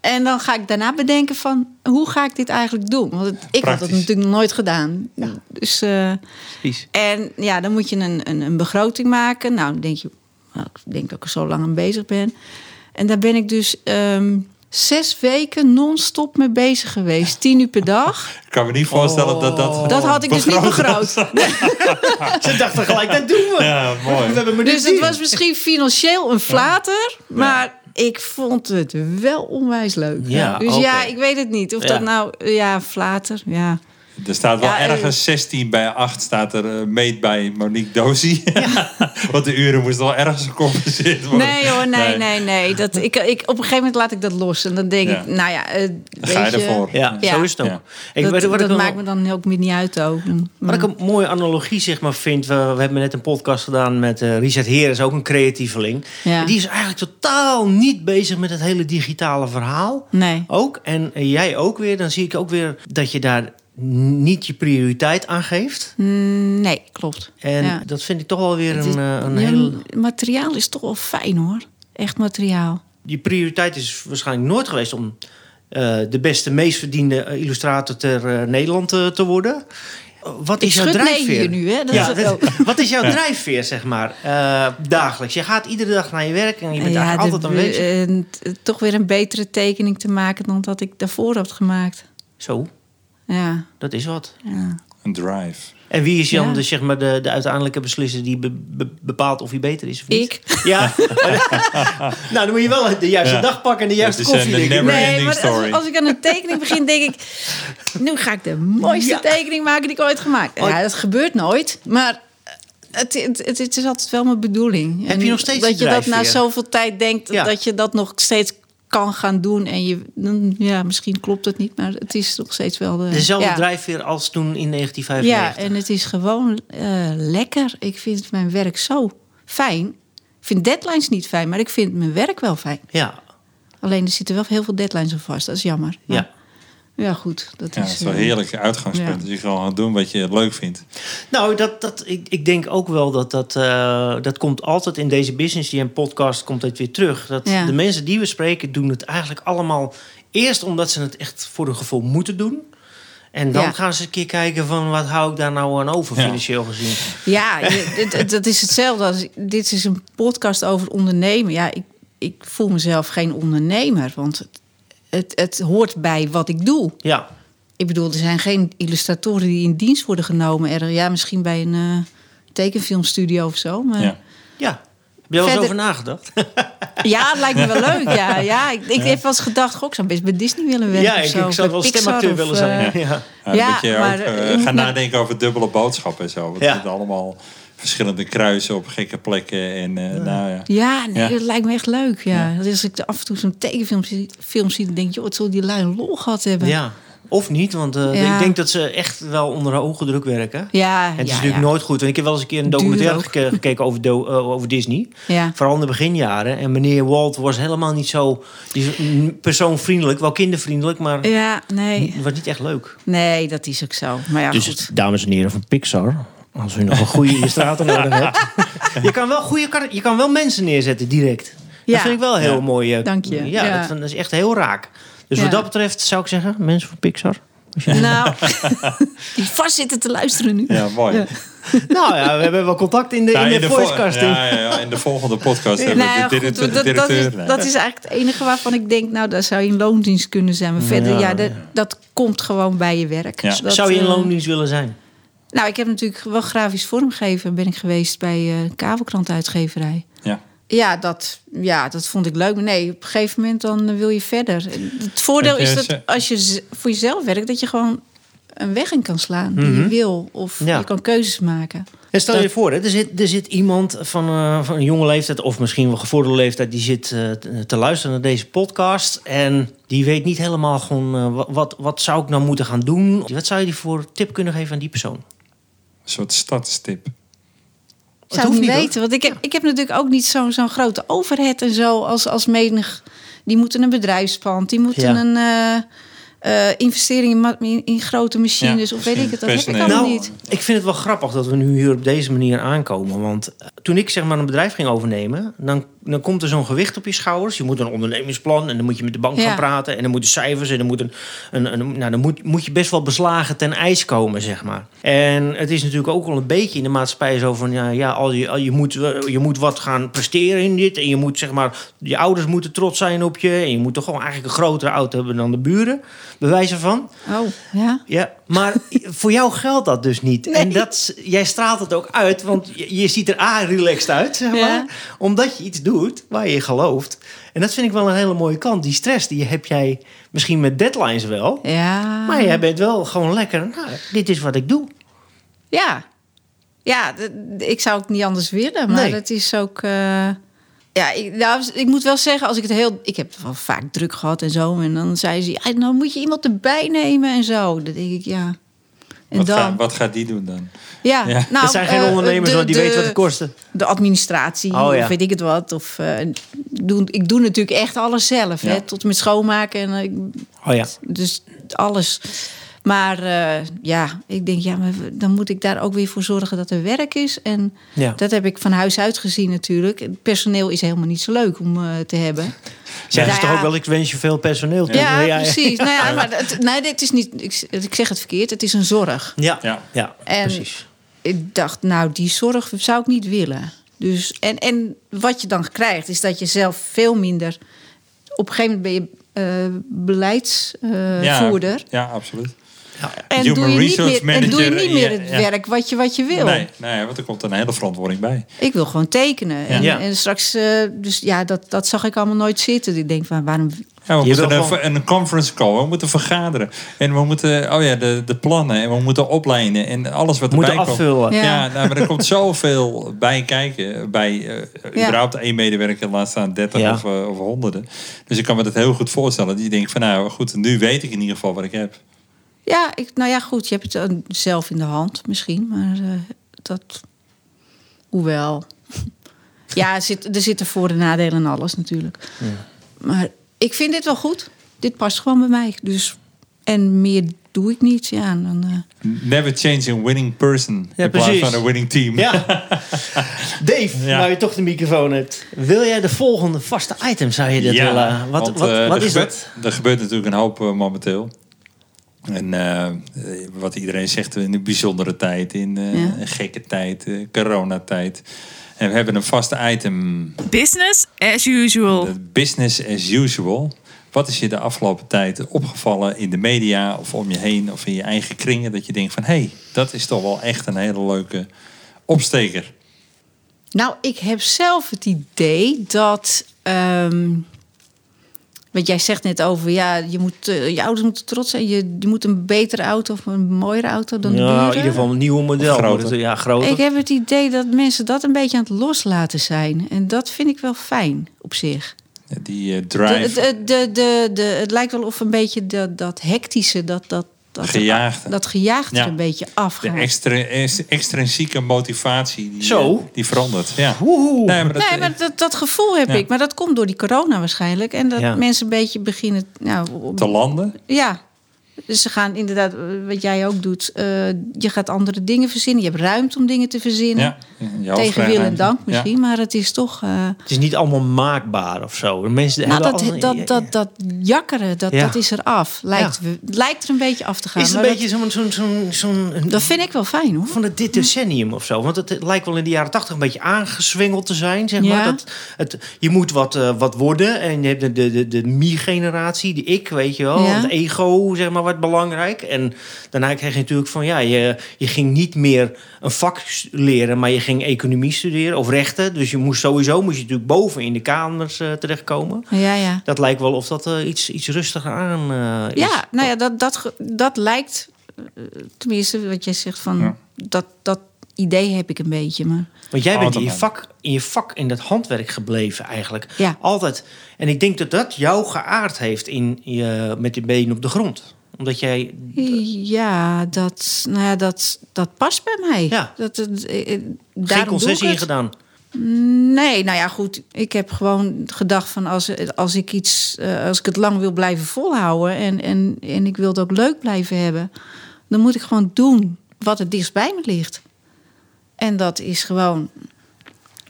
D: En dan ga ik daarna bedenken van, hoe ga ik dit eigenlijk doen? Want het- ik had dat
B: Praktisch.
D: natuurlijk nog nooit gedaan. Dus... eh,
C: Precies.
D: en ja, dan moet je een, een, een begroting maken. Nou, dan denk je, nou, ik denk dat ik er zo lang aan bezig ben. En daar ben ik dus ehm, zes weken non-stop mee bezig geweest. Tien uur per dag.
B: Ik kan me niet voorstellen dat dat...
D: Dat had ik dus niet begroot.
C: Ze dachten gelijk, dat doen we.
B: Ja,
C: We
B: mooi.
C: hebben maar
D: Dus
C: dit
D: het
C: zien.
D: was misschien financieel een flater. Maar ik vond het wel onwijs leuk.
C: Ja,
D: dus ja,
C: oké.
D: ik weet het niet. Of
C: Ja.
D: dat nou, ja, flater. Ja.
B: Er staat wel
D: Ja, eh,
B: ergens 16 bij 8 staat er eh, meet bij Monique Dozy. Want de uren moesten wel ergens gecompenseerd worden.
D: Nee hoor, nee, nee, nee. Dat, ik, ik, op een gegeven moment laat ik dat los. En dan denk
B: Ja.
D: ik, nou ja, eh,
B: Ga je
D: weet je,
B: ervoor.
C: Ja,
D: Ja.
C: zo is het ook.
B: Ja.
C: Ik
D: dat
C: weet wat
D: dat
C: ik nog-
D: maakt Mm. me dan ook meer niet uit ook.
C: Wat ik een mooie analogie zeg maar vind, we, we hebben net een podcast gedaan met eh Richard Heres, ook een creatieveling.
D: Ja.
C: En Die is eigenlijk totaal niet bezig met het hele digitale verhaal.
D: Nee.
C: Ook, en eh, jij ook weer, dan zie ik ook weer dat je daar n- niet je prioriteit aan geeft.
D: Mm, Nee, klopt.
C: En
D: Ja.
C: dat vind ik toch wel weer
D: Het is-
C: een, eh, een
D: ja,
C: heel...
D: Materiaal is toch wel fijn hoor. Echt materiaal.
C: Je prioriteit is waarschijnlijk nooit geweest om eh, de beste, meest verdiende eh, illustrator ter eh, Nederland eh, te worden. Eh, Wat
D: Ik
C: is jouw
D: schud nee
C: drijfveer?
D: hier nu, hè? Dat
C: Ja,
D: is het ook.
C: Wat is jouw drijfveer, zeg maar, eh, dagelijks? Je gaat iedere dag naar je werk en je bent
D: Ja,
C: eigenlijk
D: de- eh,
C: altijd aanwezig.
D: en t- toch weer een betere tekening te maken dan dat ik daarvoor had gemaakt.
C: Zo,
D: Ja,
C: dat is wat.
D: ja.
B: Een drive.
C: En wie is dan
D: Ja.
C: de, zeg maar, de, de uiteindelijke beslisser die be- be- bepaalt of hij beter is of niet?
D: Ik.
C: Ja. nou, dan moet je wel de juiste
B: Ja.
C: dag pakken en de juiste
B: Het is eh, een
C: koffie drinken.
B: never-
C: Nee.
D: Nee,
B: ending
D: maar als,
B: story.
D: als ik aan een tekening begin, denk ik... Nu ga ik de mooiste
C: Ja.
D: tekening maken die ik ooit gemaakt heb. Ja, dat gebeurt nooit. Maar het, het, het, het is altijd wel mijn bedoeling.
C: Heb je nog steeds
D: Dat
C: die
D: je dat na
C: drijfveer?
D: zoveel tijd denkt,
C: Ja.
D: dat je dat nog steeds kan gaan doen. En je, dan- ja, misschien klopt het niet, maar het is nog steeds wel... De,
C: Dezelfde
D: ja.
C: drijfveer als toen in
D: Ja,
C: 1995.
D: en het is gewoon eh, lekker. Ik vind mijn werk zo fijn. Ik vind deadlines niet fijn, maar ik vind mijn werk wel fijn.
C: Ja.
D: Alleen er zitten wel heel veel deadlines op vast. Dat is jammer. Maar-
C: ja.
D: Ja, goed. Dat
B: Ja, dat
D: is
B: is wel
D: eh,
B: heerlijk uitgangspunt.
D: ja.
B: Dat je gewoon gaat doen wat je leuk vindt.
C: Nou, dat, dat, ik, ik denk ook wel dat dat, eh, dat komt altijd in deze business die en podcast komt het weer terug. Dat
D: Ja.
C: de mensen die we spreken doen het eigenlijk allemaal eerst omdat ze het echt voor hun gevoel moeten doen. En dan
D: Ja.
C: gaan ze een keer kijken van wat hou ik daar nou aan over
B: Ja.
C: financieel gezien.
D: Ja, je- dit- dit- dat is hetzelfde als... Dit is een podcast over ondernemen. Ja, ik, ik voel mezelf geen ondernemer. Want het, het, het hoort bij wat ik doe.
C: Ja,
D: Ik bedoel, er zijn geen illustratoren die in dienst worden genomen. Er, ja, misschien bij een eh, tekenfilmstudio of zo. Maar ja.
B: Ja.
C: ja. Heb je wel eens
D: Verder-
C: over nagedacht?
D: het lijkt me wel leuk. Ja, ja. Ik, ik heb wel eens gedacht, goh, ik zou best bij Disney willen werken
C: ja,
D: of
C: ik,
D: zo.
C: ik
D: Bij
C: zou wel
D: Pixar
C: stemacteur
D: of,
C: willen zijn.
D: eh,
C: ja.
B: Ja,
D: Ja,
B: dat je
D: maar,
B: ook eh,
D: je moet
B: gaat
D: naar-
B: nadenken over dubbele boodschappen en zo. Want
C: Ja.
B: het zijn allemaal verschillende kruisen op gekke plekken. En eh, nou ja.
D: Ja, nee,
B: Ja.
D: dat lijkt me echt leuk. Ja. Dus Als ik af en toe zo'n tekenfilm zie, film zie, dan denk je, joh, wat zullen die lui een lol gehad hebben.
C: Ja. Of niet, want eh,
D: Ja.
C: ik denk dat ze echt wel onder hoge druk werken.
D: Ja,
C: En het
D: ja,
C: is natuurlijk
D: ja.
C: nooit goed. Want ik heb wel eens een keer een
D: Duur
C: documentaire
D: ook.
C: geke- gekeken over, do- eh, over Disney.
D: Ja.
C: Vooral in de beginjaren. En meneer Walt was helemaal niet zo die is n- persoonvriendelijk. Wel kindervriendelijk, maar
D: Ja, nee.
C: het was niet echt leuk.
D: Nee, dat is ook zo. Maar ja,
C: Dus
D: goed.
C: dames en heren van Pixar... Als u nog een goede illustrator nodig hebt. Je kan, wel goede, kar- je kan wel mensen neerzetten direct.
D: Ja.
C: Dat vind ik wel heel mooi. eh,
D: Dank je.
C: Ja,
D: Ja.
C: Dat, vind- dat is echt heel raak. Dus
D: Ja.
C: wat dat betreft zou ik zeggen, mensen van Pixar. als je-
D: Nou, die vast zitten te luisteren nu.
B: Ja, mooi.
C: nou ja, we hebben wel contact in de,
B: Nou,
C: in de,
B: vol-
C: voicecasting.
B: Ja, ja, ja, in de volgende podcast hebben
D: Nou ja,
B: we de
D: goed,
B: directeur.
D: dat, dat, is,
B: directeur.
D: dat is eigenlijk het enige waarvan ik denk, nou, daar zou je in loondienst kunnen zijn. Maar verder, ja, dat, dat komt gewoon bij je werk.
B: Ja.
D: Dat,
C: Zou je in
D: eh,
C: loondienst willen zijn?
D: Nou, ik heb natuurlijk wel grafisch vormgeven, ben ik geweest bij eh kabelkrantuitgeverij.
B: ja.
D: Ja dat, ja, dat vond ik leuk. Maar nee, op een gegeven moment dan eh, wil je verder. Het voordeel
B: Heb je
D: is dat
B: ze-
D: als je z- voor jezelf werkt, dat je gewoon een weg in kan slaan die je wil. Of
C: Mhm. Ja.
D: je kan keuzes maken.
C: En stel je voor, hè, er, zit, er zit iemand van, eh, van een jonge leeftijd... of misschien wel gevorderde leeftijd... die zit eh, te- te luisteren naar deze podcast... en die weet niet helemaal gewoon... eh, wa- wat, wat zou ik nou moeten gaan doen? Wat zou je die voor tip kunnen geven aan die persoon?
B: Een soort stadstip.
D: Ik zou het
C: hoeft
D: niet
C: niet, hoor.
D: weten. Want ik heb, ik heb natuurlijk ook niet zo'n zo'n grote overhead en zo als, als menig. Die moeten een bedrijfspand, die moeten
C: Ja.
D: een eh, eh, investering in, ma- in, in grote machines
B: Ja,
D: of weet ik het. Dat heb ik
B: personeel.
D: allemaal
C: Nou,
D: niet.
C: ik vind het wel grappig dat we nu hier op deze manier aankomen. Want eh, toen ik zeg maar een bedrijf ging overnemen, dan, dan komt er zo'n gewicht op je schouders. Je moet een ondernemingsplan en dan moet je met de bank
D: Ja.
C: gaan praten. En dan moeten cijfers en dan moet, een, een, een- nou, dan moet, moet je best wel beslagen ten ijs komen, zeg maar. En het is natuurlijk ook wel een beetje in de maatschappij zo van, ja, ja al je, al je, moet, eh, je moet wat gaan presteren in dit. En je moet zeg maar, je ouders moeten trots zijn op je. En je moet toch gewoon eigenlijk een grotere auto hebben dan de buren, bij wijze van.
D: Oh, ja.
C: Ja, maar voor jou geldt dat dus niet. En dat, is- jij straalt het ook uit, want je, je ziet er A, relaxed uit, zeg maar.
D: Ja.
C: Omdat je iets doet waar je in gelooft. En dat vind ik wel een hele mooie kant. Die stress, die heb jij misschien met deadlines wel.
D: ja.
C: Maar jij bent wel gewoon lekker, nou, dit is wat ik doe.
D: Ja. Ja, d- d- ik zou het niet anders willen. Maar
C: Nee.
D: dat is ook... eh, ja, ik, nou, ik moet wel zeggen, als ik het heel... Ik heb het wel vaak druk gehad en zo. En dan zei ze, "Ja, dan moet je iemand erbij nemen en zo. Dan denk ik, ja. En
B: Wat,
D: dan...
B: ga- wat gaat die doen dan?
D: ja,
B: ja.
D: nou,
C: dat zijn geen
D: eh,
C: ondernemers,
D: de-
C: want die
D: de-
C: weten wat het kost.
D: De administratie,
C: Oh, ja.
D: of weet ik het wat. Of, eh, doen, ik doe natuurlijk echt alles zelf.
B: Ja.
D: Hè, tot met schoonmaken. En, eh, ik
C: Oh ja.
D: dus alles. Maar eh, ja, ik denk, ja, maar dan moet ik daar ook weer voor zorgen dat er werk is. En
C: Ja.
D: dat heb ik van huis uit gezien natuurlijk. Het personeel is helemaal niet zo leuk om eh, te hebben.
C: Zeggen ze
D: Nou
C: toch
D: ja.
C: ook wel, ik wens je veel personeel toe.
D: Ja, precies. Nou ja, maar het, nee, dit is niet, ik, ik zeg het verkeerd, het is een zorg.
C: Ja, ja.
B: Ja.
D: En-
C: precies.
D: Ik dacht, nou, die zorg zou ik niet willen. Dus, en, en wat je dan krijgt, is dat je zelf veel minder... Op een gegeven moment ben je eh, beleidsvoerder.
B: Ja, absoluut.
D: en,
B: Human
D: doe je niet
B: resource
D: meer, en doe je
B: manager,
D: niet meer
B: ja,
D: het
B: ja.
D: werk wat je, wat je wil.
B: Nee, nee, want er komt een hele verantwoording bij.
D: Ik wil gewoon tekenen. En,
C: Ja.
D: en straks, eh, dus ja, dat, dat zag ik allemaal nooit zitten. Ik denk van, waarom...
B: Ja, we
C: Je
B: moeten
C: wil
B: een,
C: gewoon-
B: ver- een conference call, we moeten vergaderen. En we moeten, oh ja, de, de plannen. En we moeten opleiden. En alles wat
C: Moeten
B: erbij komt.
C: afvullen.
B: Ja,
D: Ja.
B: nou, maar er komt zoveel bij kijken. Bij eh,
D: Ja.
B: überhaupt één medewerker, laat staan 30
C: Ja.
B: of, eh, of honderden. Dus ik kan me dat heel goed voorstellen. Die denkt van, nou goed, nu weet ik in ieder geval wat ik heb.
D: Ja, ik, nou ja, goed, je hebt het eh, zelf in de hand misschien. Maar eh, dat... Hoewel... ja, er, zit, er zitten voor- en nadelen in alles natuurlijk. Maar ik vind dit wel goed. Dit past gewoon bij mij. Dus, en meer doe ik niet. Ja, en dan, eh,
B: Never change a winning person
C: Ja,
B: in plaats
C: precies.
B: van een winning team.
C: Ja. Dave,
B: Ja.
C: nou je toch de microfoon hebt. Wil jij de volgende vaste item, zou je dat willen? Wat,
B: want,
C: wat,
B: eh,
C: wat
B: er
C: is
B: gebeurt,
C: dat?
B: Er gebeurt natuurlijk een hoop eh, momenteel. En eh, eh, wat iedereen zegt in een bijzondere tijd, in eh,
D: Ja.
B: een gekke tijd, eh, coronatijd. En we hebben een vast item,
A: Business as usual.
B: dat business as usual. Wat is je de afgelopen tijd opgevallen in de media of om je heen of in je eigen kringen? Dat je denkt van, hé, hey, dat is toch wel echt een hele leuke opsteker.
D: Nou, ik heb zelf het idee dat. ehm want jij zegt net over, ja, je, moet, eh, je ouders moeten trots zijn. Je, je moet een betere auto of een mooiere auto dan de
C: Ja,
D: buren.
C: in ieder geval een nieuw model.
B: Of groter.
C: wordt het. Ja, groter.
D: Ik heb het idee dat mensen dat een beetje aan het loslaten zijn. En dat vind ik wel fijn op zich.
B: Die eh,
D: De,
B: drive,
D: de, de, de, de- het lijkt wel of een beetje dat, dat hectische, dat, dat, dat,
B: Gejaagde.
D: dat gejaagd
B: Ja.
D: er een beetje
B: de
D: afgaat.
B: extra, ex- extrinsieke motivatie, die,
C: Zo.
B: eh, die verandert. Ja.
C: Woehoe.
B: Nee, maar dat,
D: nee, maar dat, dat gevoel heb
B: Ja.
D: ik. Maar dat komt door die corona waarschijnlijk. En dat
C: Ja.
D: mensen een beetje beginnen... Nou, op-
B: te landen.
D: ja, dus ze gaan inderdaad, eh, wat jij ook doet... eh, je gaat andere dingen verzinnen. Je hebt ruimte om dingen te verzinnen.
B: Ja. in je hoofd
D: Tegen
B: krijgen
D: wil en
B: ruimte.
D: dank
B: Ja.
D: misschien. Maar het is toch... eh,
C: Het is niet allemaal maakbaar of zo. De Mensen
D: nou,
C: hebben
D: dat,
C: allemaal-
D: dat, dat, dat, jakkeren, dat,
C: Ja.
D: dat is eraf. Lijkt,
C: Ja.
D: we- lijkt er een beetje af te gaan.
C: Is het een
D: maar
C: beetje zo'n... zo'n zo'n zo'n-
D: dat, dat vind ik wel fijn, hoor.
C: van het dit decennium of zo. Want het, het lijkt wel in de jaren tachtig een beetje aangezwengeld te zijn. Zeg maar.
D: Ja.
C: dat, het, je moet wat, eh, wat worden. En je hebt de, de, de, de mi-generatie, die ik, weet je wel.
D: Ja.
C: Het ego, zeg maar, wat belangrijk. En daarna kreeg je natuurlijk van... ja, je, je ging niet meer een vak s- leren... maar je ging economie studeren of rechten. Dus je moest sowieso moest je natuurlijk boven in de kamers eh, terechtkomen.
D: Ja, ja.
C: Dat lijkt wel of dat eh, iets, iets rustiger aan eh, is.
D: Ja, nou ja, dat, dat, ge- dat lijkt, eh, tenminste wat jij zegt, van
B: Ja.
D: dat, dat idee heb ik een beetje. Maar
C: Want jij bent in je,
B: Altijd.
C: vak, in je vak, in dat handwerk gebleven eigenlijk.
D: Ja.
C: Altijd. En ik denk dat dat jou geaard heeft in je, met je benen op de grond. Omdat jij...
D: ja, dat, nou ja, dat, dat past bij mij.
C: Ja.
D: Dat, dat, eh, eh, daarom doe
C: Geen
D: ik
C: concessie
D: het.
C: in gedaan.
D: Nee, nou ja, goed. Ik heb gewoon gedacht van als, als ik iets, eh, als ik het lang wil blijven volhouden en, en, en ik wil het ook leuk blijven hebben, dan moet ik gewoon doen wat het dichtst bij me ligt. En dat is gewoon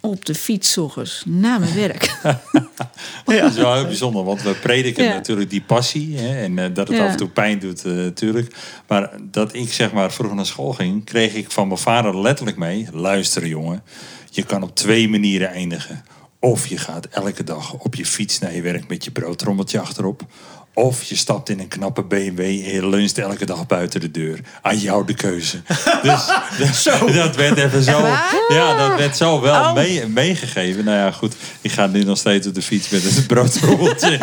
D: op de fiets 's ochtends na mijn werk.
B: Dat is wel heel bijzonder, want we prediken
D: Ja.
B: natuurlijk die passie. Hè, en eh, dat het
D: Ja.
B: af en toe pijn doet, eh, natuurlijk. Maar dat ik zeg maar vroeger naar school ging, kreeg ik van mijn vader letterlijk mee. Luister jongen, je kan op twee manieren eindigen. Of je gaat elke dag op je fiets naar je werk met je broodtrommeltje achterop. Of je stapt in een knappe BMW en je luncht elke dag buiten de deur. Aan jou de keuze. Dus dat, dat werd even zo.
D: waar?
B: Ja, dat werd zo wel
D: Oh.
B: mee, meegegeven. Nou ja, goed. Ik ga nu nog steeds op de fiets met een broodrommeltje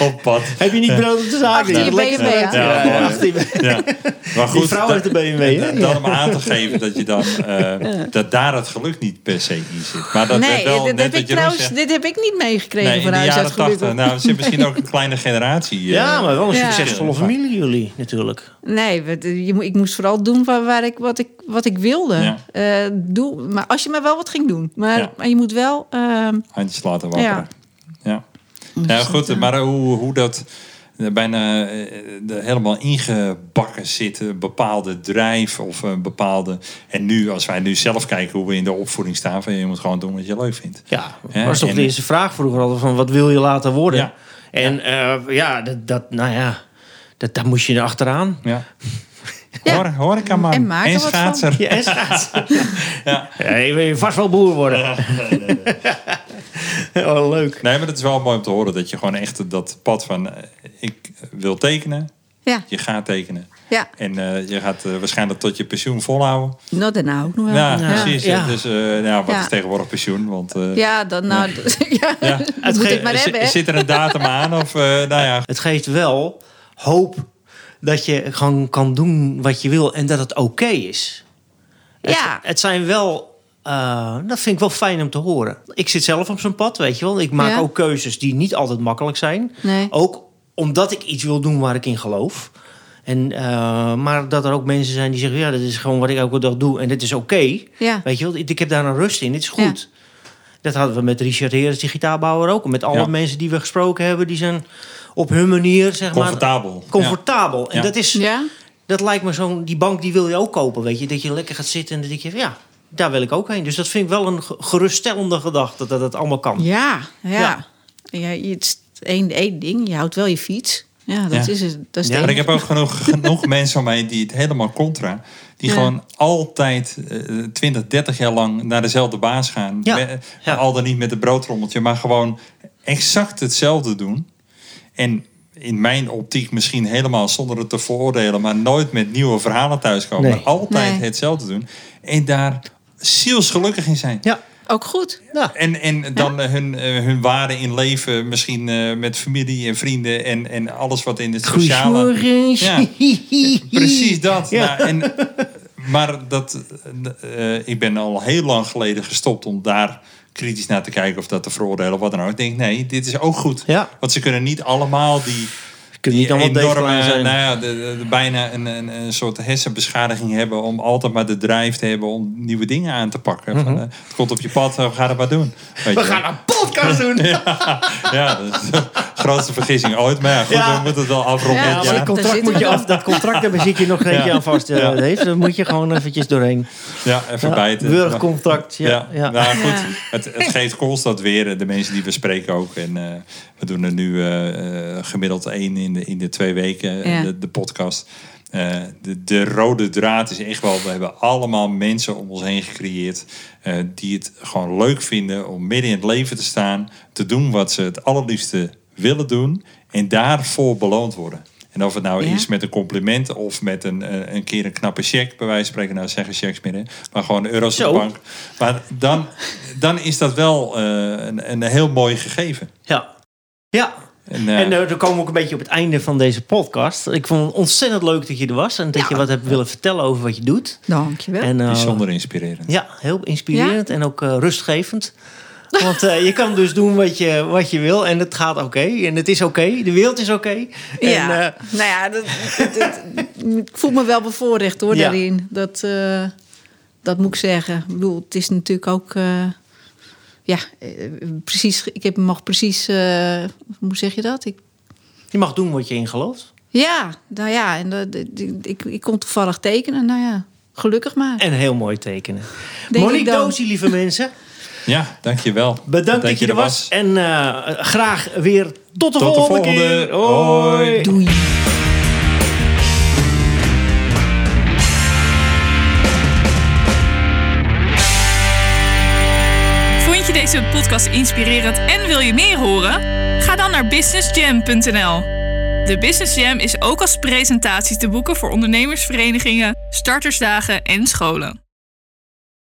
B: op pad.
C: Heb je niet brood op de zaak?
D: Achter je BMW aan.
B: Ja, mooi.
C: achter je BMW.
B: Ja. Maar goed,
C: Die vrouw
B: da-
C: heeft de BMW, hè?
B: da- Dan om aan te geven dat, je dan, eh, dat daar het geluk niet per se in zit. Maar dat werd
D: nee,
B: wel
D: dit
B: net
D: heb,
B: wat
D: ik
B: Jeroen
D: trouwens,
B: zegt.
D: dit heb ik niet meegekregen
B: Nee, in
D: van
B: de
D: huis uit
B: jaren tachtig.
D: gelukkig.
B: Nou, er zit misschien ook een kleine generatie. eh,
C: Ja, maar wel een
D: Ja.
C: succesvolle familie jullie natuurlijk.
D: Nee, wat- je, moet- ik moest vooral doen waar, waar ik, wat, ik, wat ik wilde.
B: Ja.
D: Eh, doe, maar als je maar wel wat ging doen. Maar,
B: Ja.
D: maar je moet wel... ehm,
B: handjes laten wapperen. Ja. ja. goed, maar eh, hoe, hoe dat bijna eh, er helemaal ingebakken zit, een bepaalde drijf of een bepaalde... En nu, als wij nu zelf kijken hoe we in de opvoeding staan, van je moet gewoon doen wat je leuk vindt.
C: Ja,
B: Hè,
C: dat was toch
B: en-
C: de eerste vraag vroeger al van wat wil je laten worden?
B: Ja.
C: En eh, ja, dat, dat, nou ja, dat, daar moest je er achteraan.
B: Ja.
D: Ja.
B: Hoor, horecaman
D: En maak er wat van.
B: schaatser.
C: Ja, en schaatsen. ja. je wil je vast wel boer worden. oh, leuk.
B: Nee, maar dat is wel mooi om te horen. Dat je gewoon echt dat pad van eh, ik wil tekenen.
D: Ja,
B: Je gaat tekenen.
D: ja.
B: En eh, je gaat eh, waarschijnlijk tot je pensioen volhouden.
D: Nou, daarna ook nog wel.
B: Ja,
D: ja.
B: precies.
C: Ja.
B: Dus eh, nou, wat
D: Ja.
B: is tegenwoordig pensioen? Want eh,
D: Ja, dan nou, ja.
B: Ja.
D: moet
C: ge-
D: het maar
B: zi-
D: hebben. hè.
B: zit er een datum aan? Of eh, nou ja,
C: Het geeft wel hoop dat je gewoon kan doen wat je wil en dat het oké is.
D: Ja,
C: Het, het zijn wel. eh, dat vind ik wel fijn om te horen. Ik zit zelf op zo'n pad, weet je wel. Ik maak
D: Ja.
C: ook keuzes die niet altijd makkelijk zijn.
D: nee.
C: Ook omdat ik iets wil doen waar ik in geloof. En, eh, maar dat er ook mensen zijn die zeggen: ja, dit is gewoon wat ik elke dag doe en dit is oké.
D: Ja,
C: Weet je wel, ik heb daar een rust in, dit is goed. Dat hadden we met Richard Heers, die gitaarbouwer ook. Met alle
B: Ja.
C: mensen die we gesproken hebben, die zijn op hun manier, zeg maar,
B: comfortabel.
C: comfortabel. En
B: Ja.
C: dat is,
D: ja.
C: dat lijkt me zo'n, die bank die wil je ook kopen, weet je. Dat je lekker gaat zitten en dat ik je, ja, daar wil ik ook heen. Dus dat vind ik wel een ge- geruststellende gedachte, dat het allemaal kan.
D: Ja, ja.
C: Ja.
D: ja. het is één, één ding. Je houdt wel je fiets. Ja, dat
B: Ja.
D: is het. Dat is
C: Ja,
D: het
B: Maar ik
D: enige.
B: heb ook genoeg, genoeg mensen om mij die het helemaal contra. Die
D: Ja.
B: gewoon altijd eh, 20, 30 jaar lang naar dezelfde baas gaan.
C: Ja,
B: Me-
C: ja.
B: Al dan niet met een broodrommeltje, maar gewoon exact hetzelfde doen. En in mijn optiek misschien helemaal zonder het te veroordelen, maar nooit met nieuwe verhalen thuiskomen.
C: Nee.
B: Maar altijd
D: Nee.
B: hetzelfde doen. En daar zielsgelukkig in zijn.
C: Ja,
D: Ook goed.
C: ja.
B: En, en dan eh, hun, eh, hun waarde in leven, misschien eh, met familie en vrienden en, en alles wat in het sociale.
C: Goedemorgen.
B: Ja. Precies dat.
C: Ja.
B: Nou, en, maar dat, eh, eh, ik ben al heel lang geleden gestopt om daar kritisch naar te kijken of dat te veroordelen of wat dan ook. Ik denk, nee, dit is ook goed.
C: Ja.
B: Want ze kunnen niet allemaal die,
C: kunnen niet
B: die
C: allemaal deze
B: enorme,
C: klein zijn.
B: Nou ja, de, de- de- bijna een, een, een soort hersenbeschadiging hebben om altijd maar de drive te hebben om nieuwe dingen aan te pakken. Van, eh, het komt op je pad, eh, ga dat maar doen. Weet
C: Mhm. We
B: je wel.
C: gaan een podcast doen!
B: Ja, dat is de grootste vergissing ooit. Maar ja, goed,
C: Ja.
B: we moeten het wel afronden.
D: Ja,
B: dit
C: Ja,
D: maar
B: jaar.
C: maar dat contract
D: daar
C: moet
D: zitten we
C: je
D: dan.
C: af. Dat contract, daar zit je nog geen
B: Ja.
C: aan vast. eh,
B: Ja.
C: Dave. Daar moet je gewoon eventjes doorheen.
B: Ja, even
C: Ja,
B: bijten.
C: Burgercontract, ja. ja.
B: Nou goed,
D: Ja.
B: Het, het geeft constant weer. eh, De mensen die we spreken ook. En eh, we doen er nu eh, eh, gemiddeld één in de, in de twee weken,
D: Ja.
B: de, de podcast. Eh, de, de rode draad is echt wel, we hebben allemaal mensen om ons heen gecreëerd eh, die het gewoon leuk vinden om midden in het leven te staan, te doen wat ze het allerliefste willen doen en daarvoor beloond worden. En of het nou
D: Ja.
B: is met een compliment of met een, eh, een keer een knappe check, bij wijze van spreken, nou zeggen checks meer, hè, maar gewoon euro's op
C: Zo.
B: de bank. Maar dan, dan is dat wel eh, een, een heel mooi gegeven.
C: Ja. ja.
B: En, eh,
C: En eh, dan komen we ook een beetje op het einde van deze podcast. Ik vond het ontzettend leuk dat je er was. En dat je wat hebt willen vertellen over wat je doet.
D: Dankjewel.
C: En, eh,
B: bijzonder inspirerend.
C: Ja, heel inspirerend en ook eh, rustgevend. Want eh, je kan dus doen wat je, wat je wil en het gaat oké. En het is oké, de wereld is oké. En,
D: ja,
C: eh,
D: nou ja, dat, dat- dat- ik voel me wel bevoorrecht hoor
C: Ja.
D: daarin. Dat, eh, dat moet ik zeggen. Ik bedoel, het is natuurlijk ook... eh, ja, eh, precies, ik heb, mag precies... eh, hoe zeg je dat? Ik
C: je mag doen wat je in gelooft.
D: Ja, nou ja, en dat, ik, ik, ik kon toevallig tekenen. Nou ja, gelukkig maar.
C: En heel mooi tekenen.
D: Denk ik
C: Monique
D: dan.
C: Dozie, lieve mensen.
B: Ja, dankjewel.
C: Bedankt dat je er was. En eh, graag weer tot
B: Tot de
C: de volgende,
B: volgende.
C: keer. Hoi.
B: Hoi.
D: Doei.
A: Vond je deze podcast inspirerend en wil je meer horen? Ga dan naar businessjam.nl. De Business Jam is ook als presentatie te boeken voor ondernemersverenigingen, startersdagen en scholen.